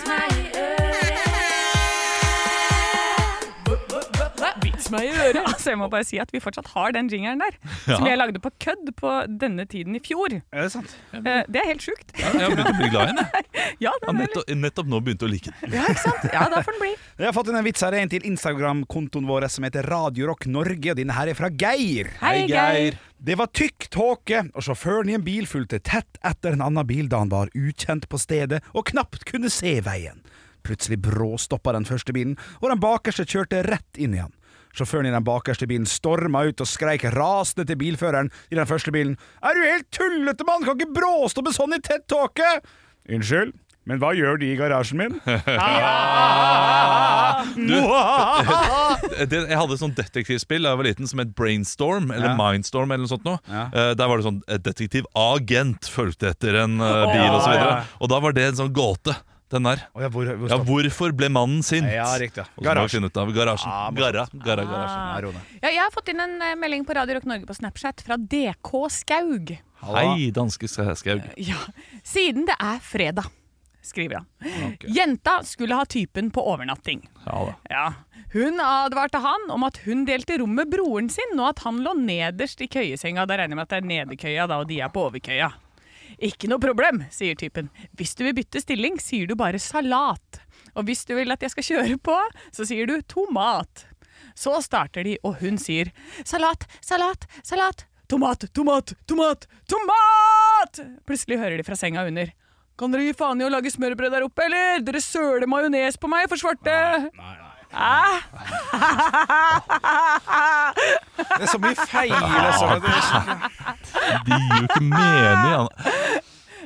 B: meg i øret. Altså, jeg må bare si at vi fortsatt har den jingeren der, som
D: Ja.
B: jeg lagde på kødd på denne tiden i fjor.
C: Er det sant?
B: Eh, Det er helt sjukt.
D: Ja, Jeg har begynt å bli glad i den. jeg.
B: Ja, den
D: Ja,
B: er
D: nettopp, nettopp nå begynte jeg å like den.
B: litt- ja, ikke sant? Ja, da får den
D: *laughs*
B: bli.
C: Jeg har fått inn en vits her en til Instagram-kontoen vår som heter Radiorock Norge, og denne her er fra Geir.
B: Hei, Geir.
C: Det var tykk tåke, og sjåføren i en bil fulgte tett etter en annen bil da han var ukjent på stedet og knapt kunne se veien. Plutselig bråstoppa den første bilen, og den bakerste kjørte rett inn i han. Sjåføren i den bakerste bilen storma ut og skreik rasende til bilføreren i den første bilen. Er du helt tullete, mann? Kan ikke bråstoppe sånn i tett tåke! Unnskyld, men hva gjør de i garasjen
B: *laughs*
C: min?
D: *laughs* Det, jeg hadde et sånt detektivspill da jeg var liten som het Brainstorm
C: Ja.
D: eller Mindstorm. eller noe sånt nå.
C: Ja.
D: Eh, Der var det sånn eh, detektiv agent fulgte etter en eh, bil
C: Å,
D: og så
C: ja,
D: videre
C: ja.
D: Og da var det en sånn gåte, den der.
C: Å ja, hvor, hvor
D: Ja,
C: stopper-
D: hvorfor ble mannen sint?
C: Ja, riktig, ja.
D: Og så må vi
C: Garasjen.
D: finne ut av garasjen.
C: Ja, morsomt.
D: Garra, garra, garasjen.
C: Nei, ro ned.
B: Ja, jeg har fått inn en eh, melding på Radio Rock Norge på Snapchat fra DK Skaug.
C: Ah,
D: Hei, danske Skaug.
B: Ja, Siden det er fredag, skriver han. Jenta skulle ha typen på overnatting.
D: Ja da.
B: Ja. Hun advarte han om at hun delte rom med broren sin, og at han lå nederst i køyesenga. Da regner jeg med at det er nedekøya, da, og de er på overkøya. Ikke noe problem, sier typen. Hvis du vil bytte stilling, sier du bare salat. Og hvis du vil at jeg skal kjøre på, så sier du tomat. Så starter de, og hun sier salat, salat, salat. Tomat, tomat, tomat, tomat! Plutselig hører de fra senga under. Kan dere gi faen i å lage smørbrød der oppe, eller? Dere søler majones på meg, for svarte!
C: Det er så mye feil, altså. Det er så-
D: De gir jo ikke mening. Jan.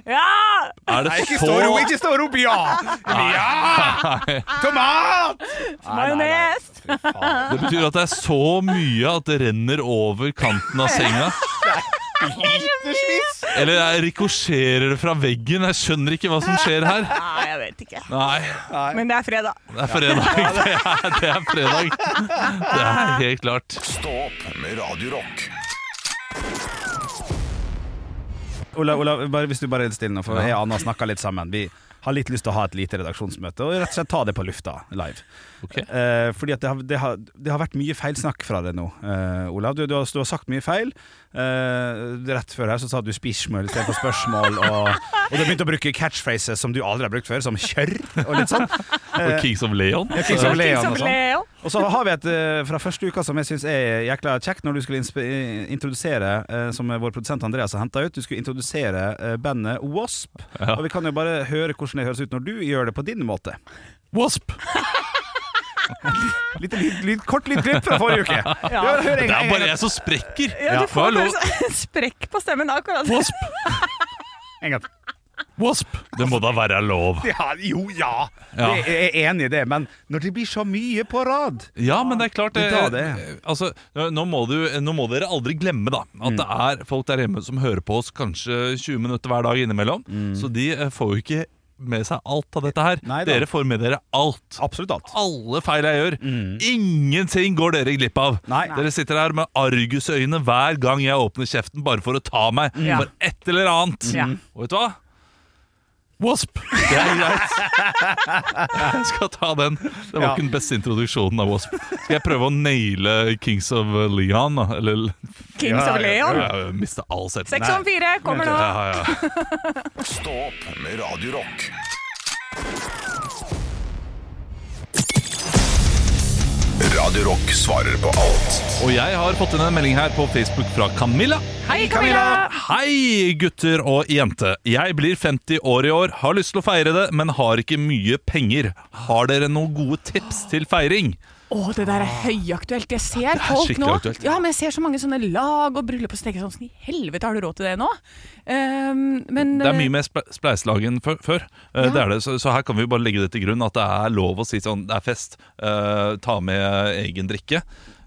B: Ja!
D: Er det
C: Nei, ikke
D: så
C: stå ro, ikke stå ro! Ja! Ja! *laughs* Tomat!
B: Majones!
D: Det betyr at det er så mye at det renner over kanten av senga.
C: Litersvis!
D: Eller jeg rikosjerer det fra veggen. Jeg skjønner ikke hva som skjer her.
B: Nei, jeg vet ikke.
D: Nei,
B: Men det er fredag.
D: det er fredag. Det er, *laughs* det er fredag. Det er helt klart.
A: Stå opp med Radio Rock.
C: Olav, Olav bare, hvis du bare er stille nå, for jeg og Anna snakker litt sammen. Vi har litt lyst til å ha et lite redaksjonsmøte, og rett og slett ta det på lufta live.
D: Ok.
C: Eh, fordi at det har, det, har, det har vært mye feilsnakk fra deg nå, eh, Olav. Du, du, har, du har sagt mye feil. Eh, rett før her så sa du 'spisjmøl' istedenfor spørsmål, og, og du har begynt å bruke catchphrases som du aldri har brukt før, som 'kjørr' og litt *laughs* sånn.
D: Og Kings of Leon.
C: Jeg fikk som Leon og sånn.
B: Leon.
C: Og så har vi et eh, fra første uka som jeg syns er jækla kjekt, når du skulle insp- eh, introdusere, eh, som vår produsent Andreas har henta ut, du skulle introdusere eh, bandet Wasp. Og vi kan jo bare høre hvordan det høres ut når du gjør det på din måte.
D: Wasp.
C: Litt, litt, litt kort litt klipp fra forrige uke. Ja, hør en
D: Det
C: gang,
D: er
C: en
D: bare
C: gang,
D: jeg som sprekker.
B: Ja,
C: Ja.
B: du får
D: Hallo.
B: bare sånn sprekk på stemmen akkurat.
D: Wasp.
C: en gang.
D: Wasp. Det må da være lov.
C: Ja, jo, ja.
D: Ja.
C: Det- Jeg er enig i det, men når det blir så mye på rad
D: Ja, men det er klart
C: Det
D: det,
C: tar det.
D: Altså, nå, må du, nå må dere aldri glemme da at det
C: Mm.
D: er folk der hjemme som hører på oss kanskje 20 minutter hver dag innimellom. Så de eh, får jo ikke med seg alt av dette her.
C: Mm. Nei da.
D: dere får med dere alt.
C: Absolutt alt.
D: Alle feil jeg gjør. Ingenting går dere glipp av.
C: Nei.
D: Dere sitter her med argusøyne hver gang jeg åpner kjeften, bare for å ta meg
B: Ja.
D: for et eller annet. Mm.
B: Ja.
D: Og vet du hva? Wasp! Det er greit. Jeg skal ta den. Det var
C: Ja.
D: ikke den beste introduksjonen av Wasp. Skal jeg prøve å naile Kings of Leon, da? Eller
B: Kings of Leon.
D: Jeg mister all selvtillit.
B: Seks om fire kommer nå.
D: Ja, ja.
A: Stå opp med Radio Rock. Radio Rock svarer på alt.
D: Og jeg har fått inn en melding her på Facebook fra Camilla.
B: Hei, Camilla!
D: Hei, gutter og jente. Jeg blir 50 år i år, har lyst til å feire det, men har ikke mye penger. Har dere noen gode tips til feiring?
B: Å, det der er høyaktuelt. Jeg ser
D: er
B: folk
D: skikkelig
B: nå.
D: aktuelt.
B: Ja, men jeg ser så mange sånne lag og bryllup og steker sånn. sånn, I helvete, har du råd til det nå? Ehm, men
D: Det er mye mer sple- spleiselag enn før. før. Eh, Det er det. Så, så her kan vi bare legge det til grunn at det er lov å si sånn, det er fest, eh, ta med egen drikke.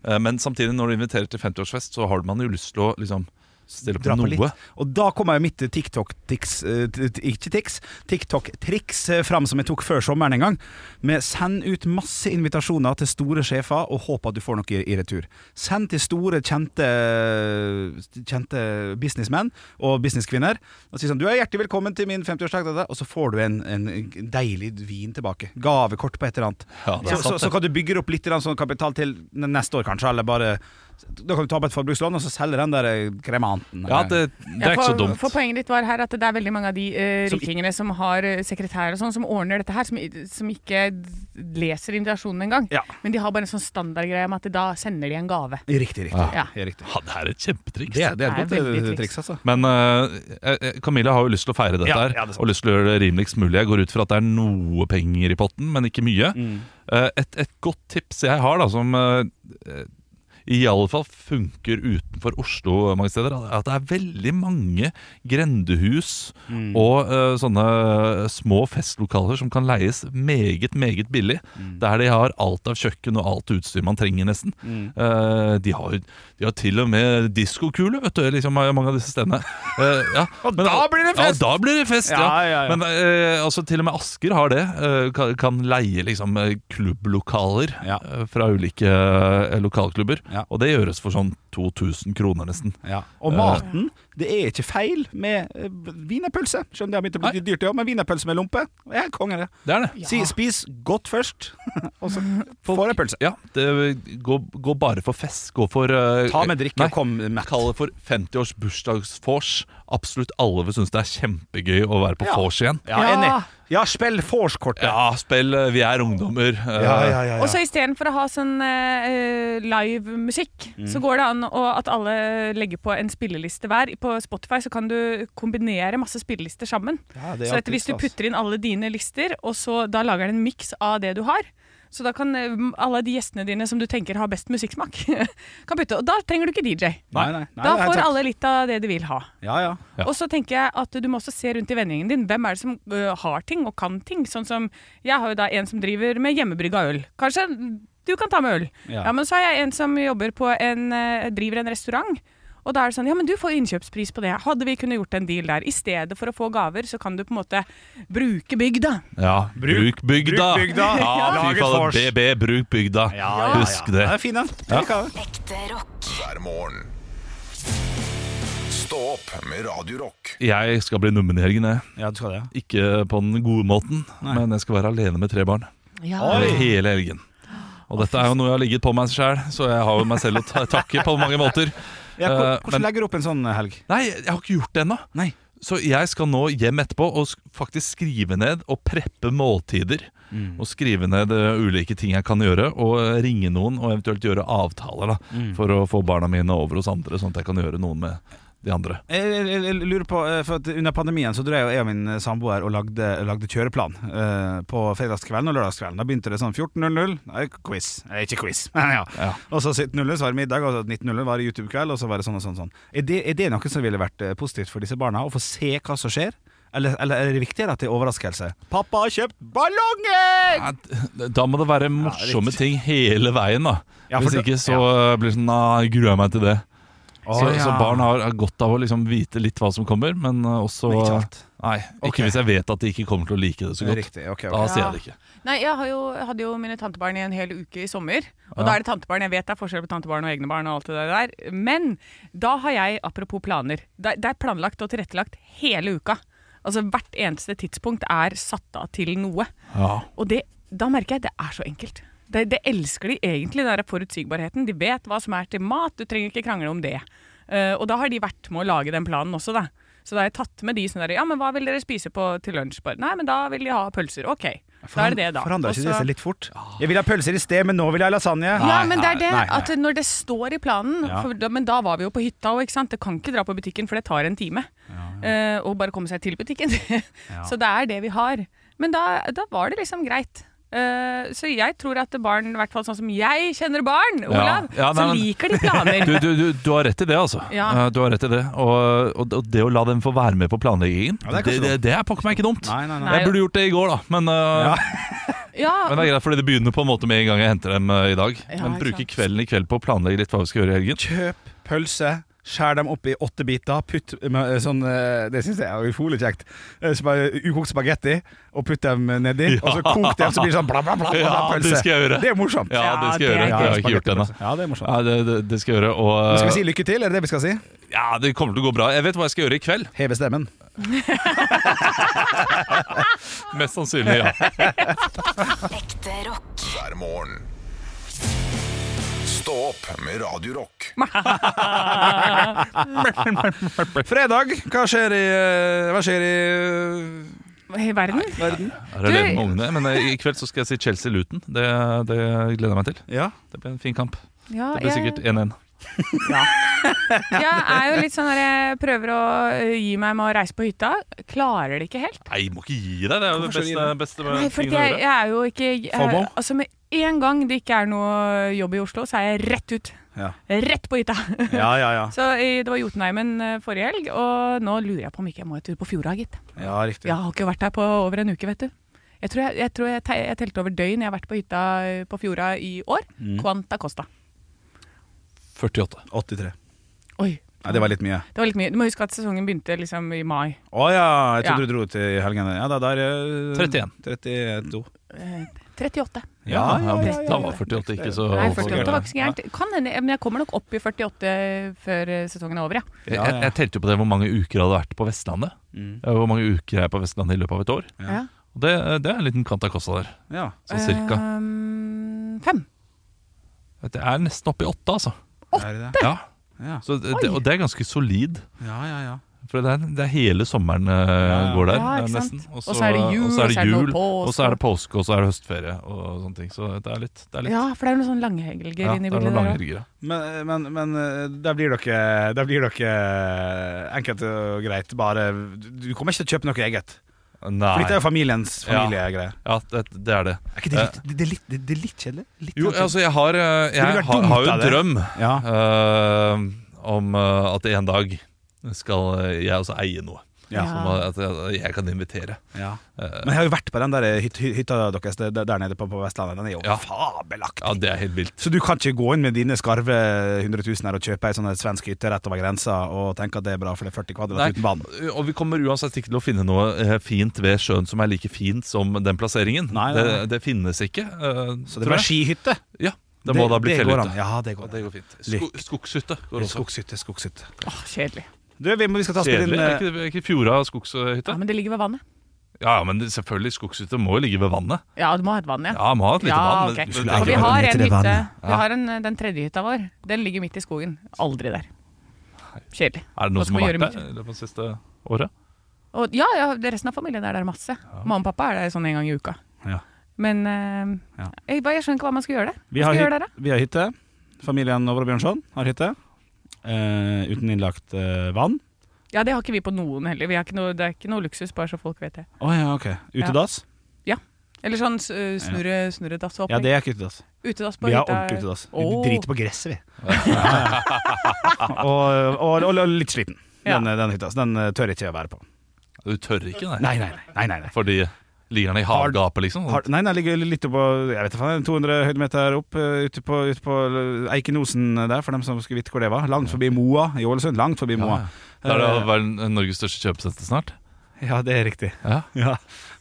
D: Eh, men samtidig, når du inviterer til 50-årsfest, så har man jo lyst til å liksom stille
C: Dra på
D: på noe.
C: litt. Og da kommer jo mitt TikTok-tics eh, t- t- Ikke tics, TikTok-triks eh, fram som jeg tok før sommeren en gang. Med send ut masse invitasjoner til store sjefer og håp at du får noe i, i retur. Send til store, kjente, eh, kjente businessmenn og businesskvinner og si sånn Du er hjertelig velkommen til min 50-årsdag, da, da», og så får du en, en deilig vin tilbake. Gavekort på et eller annet.
D: Ja, det er
C: så,
D: sant,
C: så, så kan du bygge opp litt grann sånn kapital til neste år, kanskje, eller bare da kan du ta opp et forbrukslån og så selge den der eh, kremanten.
D: Ja, det, det er
B: Ja,
D: ikke
B: for,
D: så dumt.
B: For poenget ditt var her at det er veldig mange av de eh,
C: Som i-
B: rikingene som har eh, sekretær og sånn, som ordner dette her, som, i- som ikke d- leser invitasjonen engang.
C: Ja.
B: Men de har bare en sånn standardgreie med at da sender de en gave.
C: Riktig, riktig.
B: Ja.
C: Ja, riktig.
D: Ja, det er et kjempetriks.
C: Det, det er
B: Det er
C: et godt
B: veldig
C: eh,
B: triks.
C: triks, altså.
D: Men eh, eh, Camilla har jo lyst til å feire dette
C: Ja,
D: her
C: ja, det er sant.
D: og lyst til å gjøre det rimeligst mulig. Jeg går ut fra at det er noe penger i potten, men ikke mye.
C: Mm.
D: Eh, et, et godt tips jeg har, da, som eh, eh, i alle fall funker utenfor Oslo eh, mange steder, er at det er veldig mange grendehus
C: Mm.
D: og eh, sånne små festlokaler som kan leies meget, meget billig.
C: Mm.
D: Der de har alt av kjøkken og alt utstyr man trenger, nesten.
C: Mm.
D: Eh, de, har, de har til og med diskokule, vet du, liksom mange av disse stedene. Eh, ja.
C: *laughs* Og da blir det fest!
D: Ja, da blir det fest, ja.
C: Ja, ja, ja.
D: Men eh, altså, til og med Asker har det. eh, kan, kan leie liksom eh, klubblokaler
C: Ja.
D: eh, fra ulike eh, lokalklubber.
C: Ja.
D: Og det gjøres for sånn 2000 kroner, nesten.
C: Og maten, det er ikke feil med eh, wienerpølse. Skjønner det har begynt å bli litt dyrt, ja, men wienerpølse med lompe, jeg er konge, det.
D: Det er det.
C: Si, spis godt først, *laughs* og så får jeg pølse.
D: Ja, det, gå, gå bare for fest. Gå for eh,
C: Ta med drikke
D: nei,
C: og kom mett.
D: Kall det for 50 års bursdagsvors. Absolutt alle vil synes det er kjempegøy å være på
C: Ja.
D: vors igjen.
C: Ja,
B: Ja.
C: enig. Ja, spill vorskortet.
D: Ja, spill eh, Vi er ungdommer. eh,
B: Og så istedenfor å ha sånn eh, live musikk, så
D: Mm.
B: går det an å, at alle legger på en spilleliste hver. På Spotify så kan du kombinere masse spillelister sammen.
C: Ja, det er
B: så at
C: alltid
B: hvis du
C: stas.
B: putter inn alle dine lister, og så da lager den en miks av det du har, så da kan eh, alle de gjestene dine som du tenker har best musikksmak, *laughs* kan putte. Og da trenger du ikke DJ.
C: Nei, nei, nei,
B: da
C: det er helt
B: får
C: sant.
B: alle litt av det de vil ha.
C: Ja, ja.
D: Ja.
B: Og så tenker jeg at du må også se rundt i vennegjengen din. Hvem er det som ø, har ting og kan ting? Sånn som, Jeg har jo da en som driver med hjemmebrygga øl. Kanskje du kan ta med øl?
C: Ja.
B: Ja, men så har jeg en som jobber på en, ø, driver en restaurant. Og da er det sånn, ja, men du får innkjøpspris på det. Hadde vi kunnet gjort en deal der? I stedet for å få gaver, så kan du på en måte bruke bygda.
D: Ja, bruk, bygda!
C: bruk bygda.
D: Ja,
C: Lag et
D: fy fader,
C: vors.
D: BB, bruk bygda.
C: Ja, ja,
D: Husk
C: ja.
D: det.
C: Den er fin, den. Jeg liker den.
E: Ekte rock.
A: hver morgen. Stå opp med Radio Rock.
D: Jeg skal bli nummen i helgen, jeg.
C: Ja, du skal det. ja.
D: Ikke på den gode måten, men jeg skal være alene med tre barn. Eller Hele helgen. Og dette er jo noe jeg har ligget på meg sjæl, så jeg har jo meg selv å ta takke på mange måter.
C: Ja, hvor-
D: Eh,
C: hvordan
D: men-
C: legger du opp en sånn helg?
D: Nei, jeg har ikke gjort det ennå.
C: Nei.
D: Så jeg skal nå hjem etterpå og sk- faktisk skrive ned og preppe måltider.
C: Mm.
D: Og skrive ned eh, ulike ting jeg kan gjøre, og eh, ringe noen og eventuelt gjøre avtaler da, for å få barna mine over hos andre, sånn at jeg kan gjøre noen med de andre.
C: Jeg, jeg, jeg jeg lurer på, eh, for at Under pandemien så drev jeg og min samboer og lagde, lagde kjøreplan eh, på fredagskvelden og lørdagskvelden. Da begynte det sånn 14.00, nei, quiz. Nei, ikke quiz. *laughs* ja.
D: Ja.
C: Og så 17.00 så var det middag, og så 19.00 var det YouTube-kveld, og så var det sånn og sånn. sånn. Er, det, er det noe som ville vært eh, positivt for disse barna? Å få se hva som skjer? Eller, eller er det viktigere at det er overraskelse? 'Pappa har kjøpt ballonger!'
D: Ja, d- Da må det være morsomme ting hele veien, da.
C: Ja, for
D: Hvis
C: det-
D: ikke så eh, blir det sånn Nei, gruer jeg meg til det.
C: Å,
D: så,
C: ja.
D: så barn har har godt av å liksom vite litt hva som kommer, men eh, også
C: Men ikke alt.
D: Nei, ikke
C: Ok.
D: hvis jeg vet at de ikke kommer til å like det så godt.
C: Riktig, ok,
D: Da
C: ok.
D: sier jeg det ikke.
B: Nei, jeg, har jo, jeg hadde jo mine tantebarn i en hel uke i sommer. Og da er det tantebarn. Jeg vet det er forskjell på tantebarn og egne barn. og alt det der Men da har jeg, apropos planer, det, det er planlagt og tilrettelagt hele uka. Altså Hvert eneste tidspunkt er satt av til noe.
D: Ja.
B: Og det, da merker jeg det er så enkelt. Det, det elsker de egentlig, den der forutsigbarheten. De vet hva som er til mat, du trenger ikke krangle om det. Eh, og da har de vært med å lage den planen også, da. Så da har jeg tatt med de sånn der Ja, men hva vil dere spise på til lunsj? Bare, Nei, men da vil de ha pølser. OK. Da er det det, da.
C: Forandra ikke
B: Og
C: det
B: så-
C: seg litt fort? Jeg ville ha pølser i sted, men nå vil jeg ha lasagne.
B: ja, men det er det.
C: nei, nei.
B: At når det står i planen
C: Ja.
B: for da, Men da var vi jo på hytta òg, ikke sant. Det kan ikke dra på butikken, for det tar en time. Eh, og bare komme seg til butikken. *laughs* Så det er det vi har. Men da, da var det liksom greit. Eh, så jeg tror at barn, i hvert fall sånn som jeg kjenner barn, Olav,
D: Ja, nei,
B: så
D: men-
B: liker de planer.
D: *laughs* Du, du, du, du har rett i det, altså.
B: *laughs* Ja.
D: Eh, Du har rett i det. Og, og, og det å la dem få være med på planleggingen,
C: Ja, det er
D: det,
C: kanskje
D: det, det er pokker meg ikke dumt.
C: Nei, nei, nei.
B: Nei.
D: Jeg burde gjort det i går, da, men, eh,
B: ja,
D: men det er greit, fordi det begynner på en måte med en gang jeg henter dem eh, i dag.
B: Ja,
D: men
B: ikke
D: bruke
B: sant.
D: kvelden i kveld på å planlegge litt hva vi skal gjøre i helgen.
C: Kjøp pølse, skjær dem opp i åtte biter, putt med, eh, sånn eh, Det syns jeg er utrolig kjekt. Eh, så bare Ukokt spagetti, og putt dem nedi, og så kok dem, så blir det sånn bla, bla, bla, bla, bla
D: Ja, det
C: pølse.
D: skal jeg gjøre.
C: er morsomt.
D: Ja, det skal jeg
B: det er gøy.
D: gjøre. Det har jeg ikke gjort ennå.
C: spagettipølse. Ja, det er morsomt.
D: Ja, det, det, det skal jeg gjøre. Og, eh,
C: Men skal vi si lykke til, er det det vi skal si?
D: ja, det kommer til å gå bra. Jeg vet hva jeg skal gjøre i kveld.
C: Heve stemmen.
D: Mest sannsynlig, *laughs* ja.
E: Ekte rock.
A: hver morgen. Stå opp med Radio Rock.
C: Fredag, hva skjer i eh, Hva skjer i
B: i verden.
D: Her er det med ungene. Men eh, i kveld så skal jeg si Chelsea-Luton. Det, det gleder jeg meg til.
C: eh, Ja?
D: Det blir en fin kamp.
B: Ja,
D: Det blir
B: jeg-
D: sikkert 1-1.
B: Jeg er jo litt sånn der jeg prøver å eh, gi meg med å reise på hytta. Klarer det ikke helt.
D: Nei, må ikke gi deg. Det er jo det
C: Hvorfor skal du gi
D: beste, beste med
B: Nei,
D: tingen
B: fordi
D: å
B: jeg,
D: gjøre.
B: jeg er jo ikke jeg,
C: FOMO?
B: Altså Med en gang det ikke er noe jobb i Oslo, så er jeg rett ut.
C: Ja.
B: Rett på hytta! *laughs*
C: Ja, ja, ja.
B: Så i, Det var Jotunheimen eh, forrige helg, og nå lurer jeg på om ikke jeg må en tur på Fjorda, gitt.
C: ja riktig.
B: Jeg har ikke vært der på over en uke, vet du. Jeg tror jeg, jeg, tror jeg, te- jeg telte over døgn jeg har vært på hytta eh, på Fjorda i år.
C: Mm.
B: Quanta Costa.
D: 48.
C: 83.
B: Oi.
C: Nei, det var litt mye.
B: Det var litt mye. Du må huske at sesongen begynte liksom i mai.
C: Å ja, jeg trodde
B: Ja.
C: du dro til i helgen. Ja, da, der eh,
D: 31.
C: 32.
B: Eh, 38.
C: Ja,
D: Ja, ja,
C: ja, ja,
D: Da
C: ja.
D: var 48 ikke så
B: Nei, 48 var ikke så gærent. Kan hende, men jeg kommer nok opp i 48 før eh, sesongen er over, ja.
D: Jeg, jeg, jeg telte jo på det hvor mange uker jeg hadde vært på Vestlandet.
C: Mm.
D: Eh, Hvor mange uker jeg er på Vestlandet i løpet av et år.
B: ja.
D: Og det, det er en liten kant av kosta der.
C: Ja.
D: Sånn cirka.
B: Ehm, fem.
D: Det er nesten oppe i åtte, altså.
C: Er det det?
D: Ja.
C: Ja.
D: Så det, det, og det er ganske solid.
C: ja, ja, ja.
D: For det er, det er hele sommeren eh, går der,
B: Ja,
D: eh,
B: ikke sant?
D: nesten.
B: Og så er det jul,
D: og så er det,
B: noe
D: jul,
B: påske.
D: og så er det påske, og så er det høstferie og sånne ting. Så det er litt. Det er litt
B: Ja, for det er noen sånne langhelger
D: ja,
B: inni bildet
D: det er
B: der
D: noen
B: òg.
D: langhelger, ja.
C: Men, men, men eh, der blir dere, der blir dere eh, enkelt og greit bare Du du kommer ikke til å kjøpe noe eget.
D: Nei.
C: For dette er jo familiens familiegreier.
D: Ja, det, det er det.
C: Er ikke det litt, det, det er litt, det, det er litt kjedelig? Litt
D: Jo,
C: kjedelig.
D: altså, jeg har, eh,
C: ville
D: jeg
C: vært
D: har,
C: dumt
D: har jo
C: av
D: en
C: det.
D: drøm
C: ja.
D: eh, om eh, at en dag skal eh, jeg også eie noe.
C: Ja.
D: Som at jeg, jeg kan invitere.
C: ja.
D: eh,
C: Men jeg har jo vært på den der hyt, hy- hytta deres der, der nede på, på Vestlandet. Den er jo
D: Ja.
C: fabelaktig.
D: Ja, det er helt vilt.
C: Så du kan ikke gå inn med dine skarve 100 000 her og kjøpe ei sånn svensk hytte rett over grensa og tenke at det er bra, for det er 40 kvadrat
D: Nei,
C: uten vann.
D: Eh, og vi kommer uansett ikke til å finne noe eh, fint ved sjøen som er like fint som den plasseringen.
C: Nei, nei, nei.
D: Det, det finnes ikke. eh,
C: Så det
D: tror
C: blir
D: jeg.
C: skihytte.
D: Ja, det må da bli
C: det går an.
D: fjellhytte.
C: Ja, det går
D: Det
C: an.
D: går fint. Sko skogshytte går også.
C: Skogshytte, skogshytte.
B: Kjedelig.
C: Du, vi, må, vi skal ta og spille
D: Kjedelig.
C: inn
D: Er
C: eh,
D: ikke, er ikke Fjorda
B: Ja,
D: skogshytte?
B: Men det ligger ved vannet.
D: Ja, ja, men det- selvfølgelig, skogshytte må jo ligge ved vannet.
B: Ja, du må ha et vann, ja.
D: Ja, må ha et lite
B: Ja,
D: vann.
B: ok.
D: men-
C: Skulle
D: men-
B: For vi
C: egentlig
B: har
C: være
B: en
C: nede i det
B: hytte.
C: vannet.
B: Vi har en, den tredje hytta vår. Den ligger midt i skogen. Aldri der. Kjedelig.
D: Er
B: Hva
D: det noen som
B: skal
D: har
B: vi
D: vært
B: gjøre
D: der i løpet av det siste året?
B: Og ja, ja, det- resten av familien er der masse. Mamma og pappa er der sånn en gang i uka.
C: Ja.
B: Men eh,
C: Ja.
B: jeg, bare- jeg skjønner ikke hva man skal gjøre der.
C: vi,
B: Hva skal vi
C: har hyt,
B: gjøre der, da?
C: vi har eh, hytte. Familien Over og Bjørnson har hytte. Eh, uten innlagt eh, vann.
B: Ja, det har ikke vi på noen heller. Vi har ikke noe, det er ikke noe luksus, bare så folk vet det.
C: Å ja, ok. Utedass?
B: Eller sånn eh, snurre, snurredass og
C: Ja, det er ikke utedass.
B: Utedass på
C: Vi har
B: hytta.
C: ordentlig utedass. Vi
B: Åh.
C: driter på
D: *laughs*
C: gresset, vi. og, og, og, og litt sliten.
B: Ja.
C: Den, den hytta. Så den eh, tør ikke jeg å være på.
D: Du tør ikke, nei.
C: Nei, nei, nei. nei, nei.
D: Fordi ligger den i
C: Har-
D: havgapet, liksom?
C: Har, nei, den ligger litt oppå Jeg vet ikke, faen, 200 høydemeter opp eh, ute på, ute på eh, Eikenosen der, for dem som skulle vite hvor det var. Langt forbi Moa i Ålesund. Langt forbi Moa.
B: Øh.
D: Da er det vel Norges største kjøpesenter snart?
C: Ja, det er riktig.
D: Ja.
C: Ja.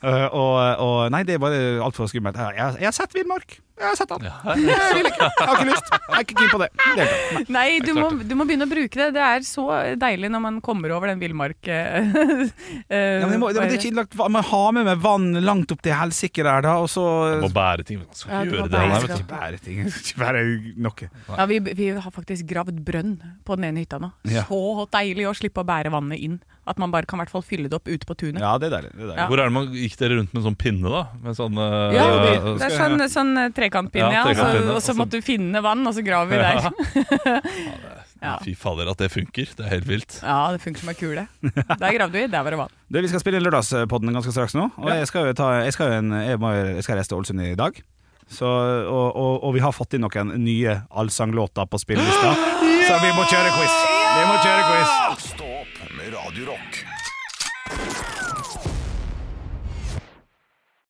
C: Eh, og, og Nei, det er bare altfor skummelt. Jeg, jeg, jeg har sett Villmark. Jeg har sett han. Jeg vil ikke. Jeg har ikke lyst. Jeg er ikke keen på det. det er ikke. Nei.
B: Nei, du må,
D: klart
B: du må begynne å bruke det. Det er så deilig når man kommer over den villmark... eh, *laughs*
C: Ja, men, det må, det, men det er ikke innlagt vann. Man har med meg vann langt opp til helsike der, da, og så
D: Må bære ting. Man skal
B: Øh. Ja,
D: ikke
B: du må bære
C: Jeg
D: gjøre det. Nei, vet
C: skal
D: du.
C: ikke bære ting. Jeg skal ikke bære noe.
B: Ja, vi, vi har faktisk gravd brønn på den ene hytta nå.
C: Ja.
B: Så deilig å slippe å bære vannet inn. At man bare kan i hvert fall fylle det opp ute på tunet.
C: Ja, det er deilig. Det er deilig.
B: Ja.
D: Hvor er det man gikk dere rundt med en sånn pinne, da? Med sånn eh,
B: Ja,
D: eh,
B: det er sånn, sånn eh, trekantpinne, ja.
D: Ja,
B: og så-
D: trekantpinne,
B: Og sånn. så
D: og så-
B: måtte du finne vann, og så graver vi der. *laughs* Ja.
D: Fy fader, at det funker. Det er helt vilt.
B: Ja, det funker som ei kule. Der gravde vi, der var det vann.
C: Du, vi skal spille inn Lørdagspodden ganske straks nå. Og jeg skal jo ta, jeg skal jo en, jeg må, jeg skal reise til Ålesund i dag. Så, og, og, og vi har fått inn noen nye allsanglåter på spillelista, så vi må kjøre quiz. Vi må kjøre quiz.
A: Stå opp med Radio Rock.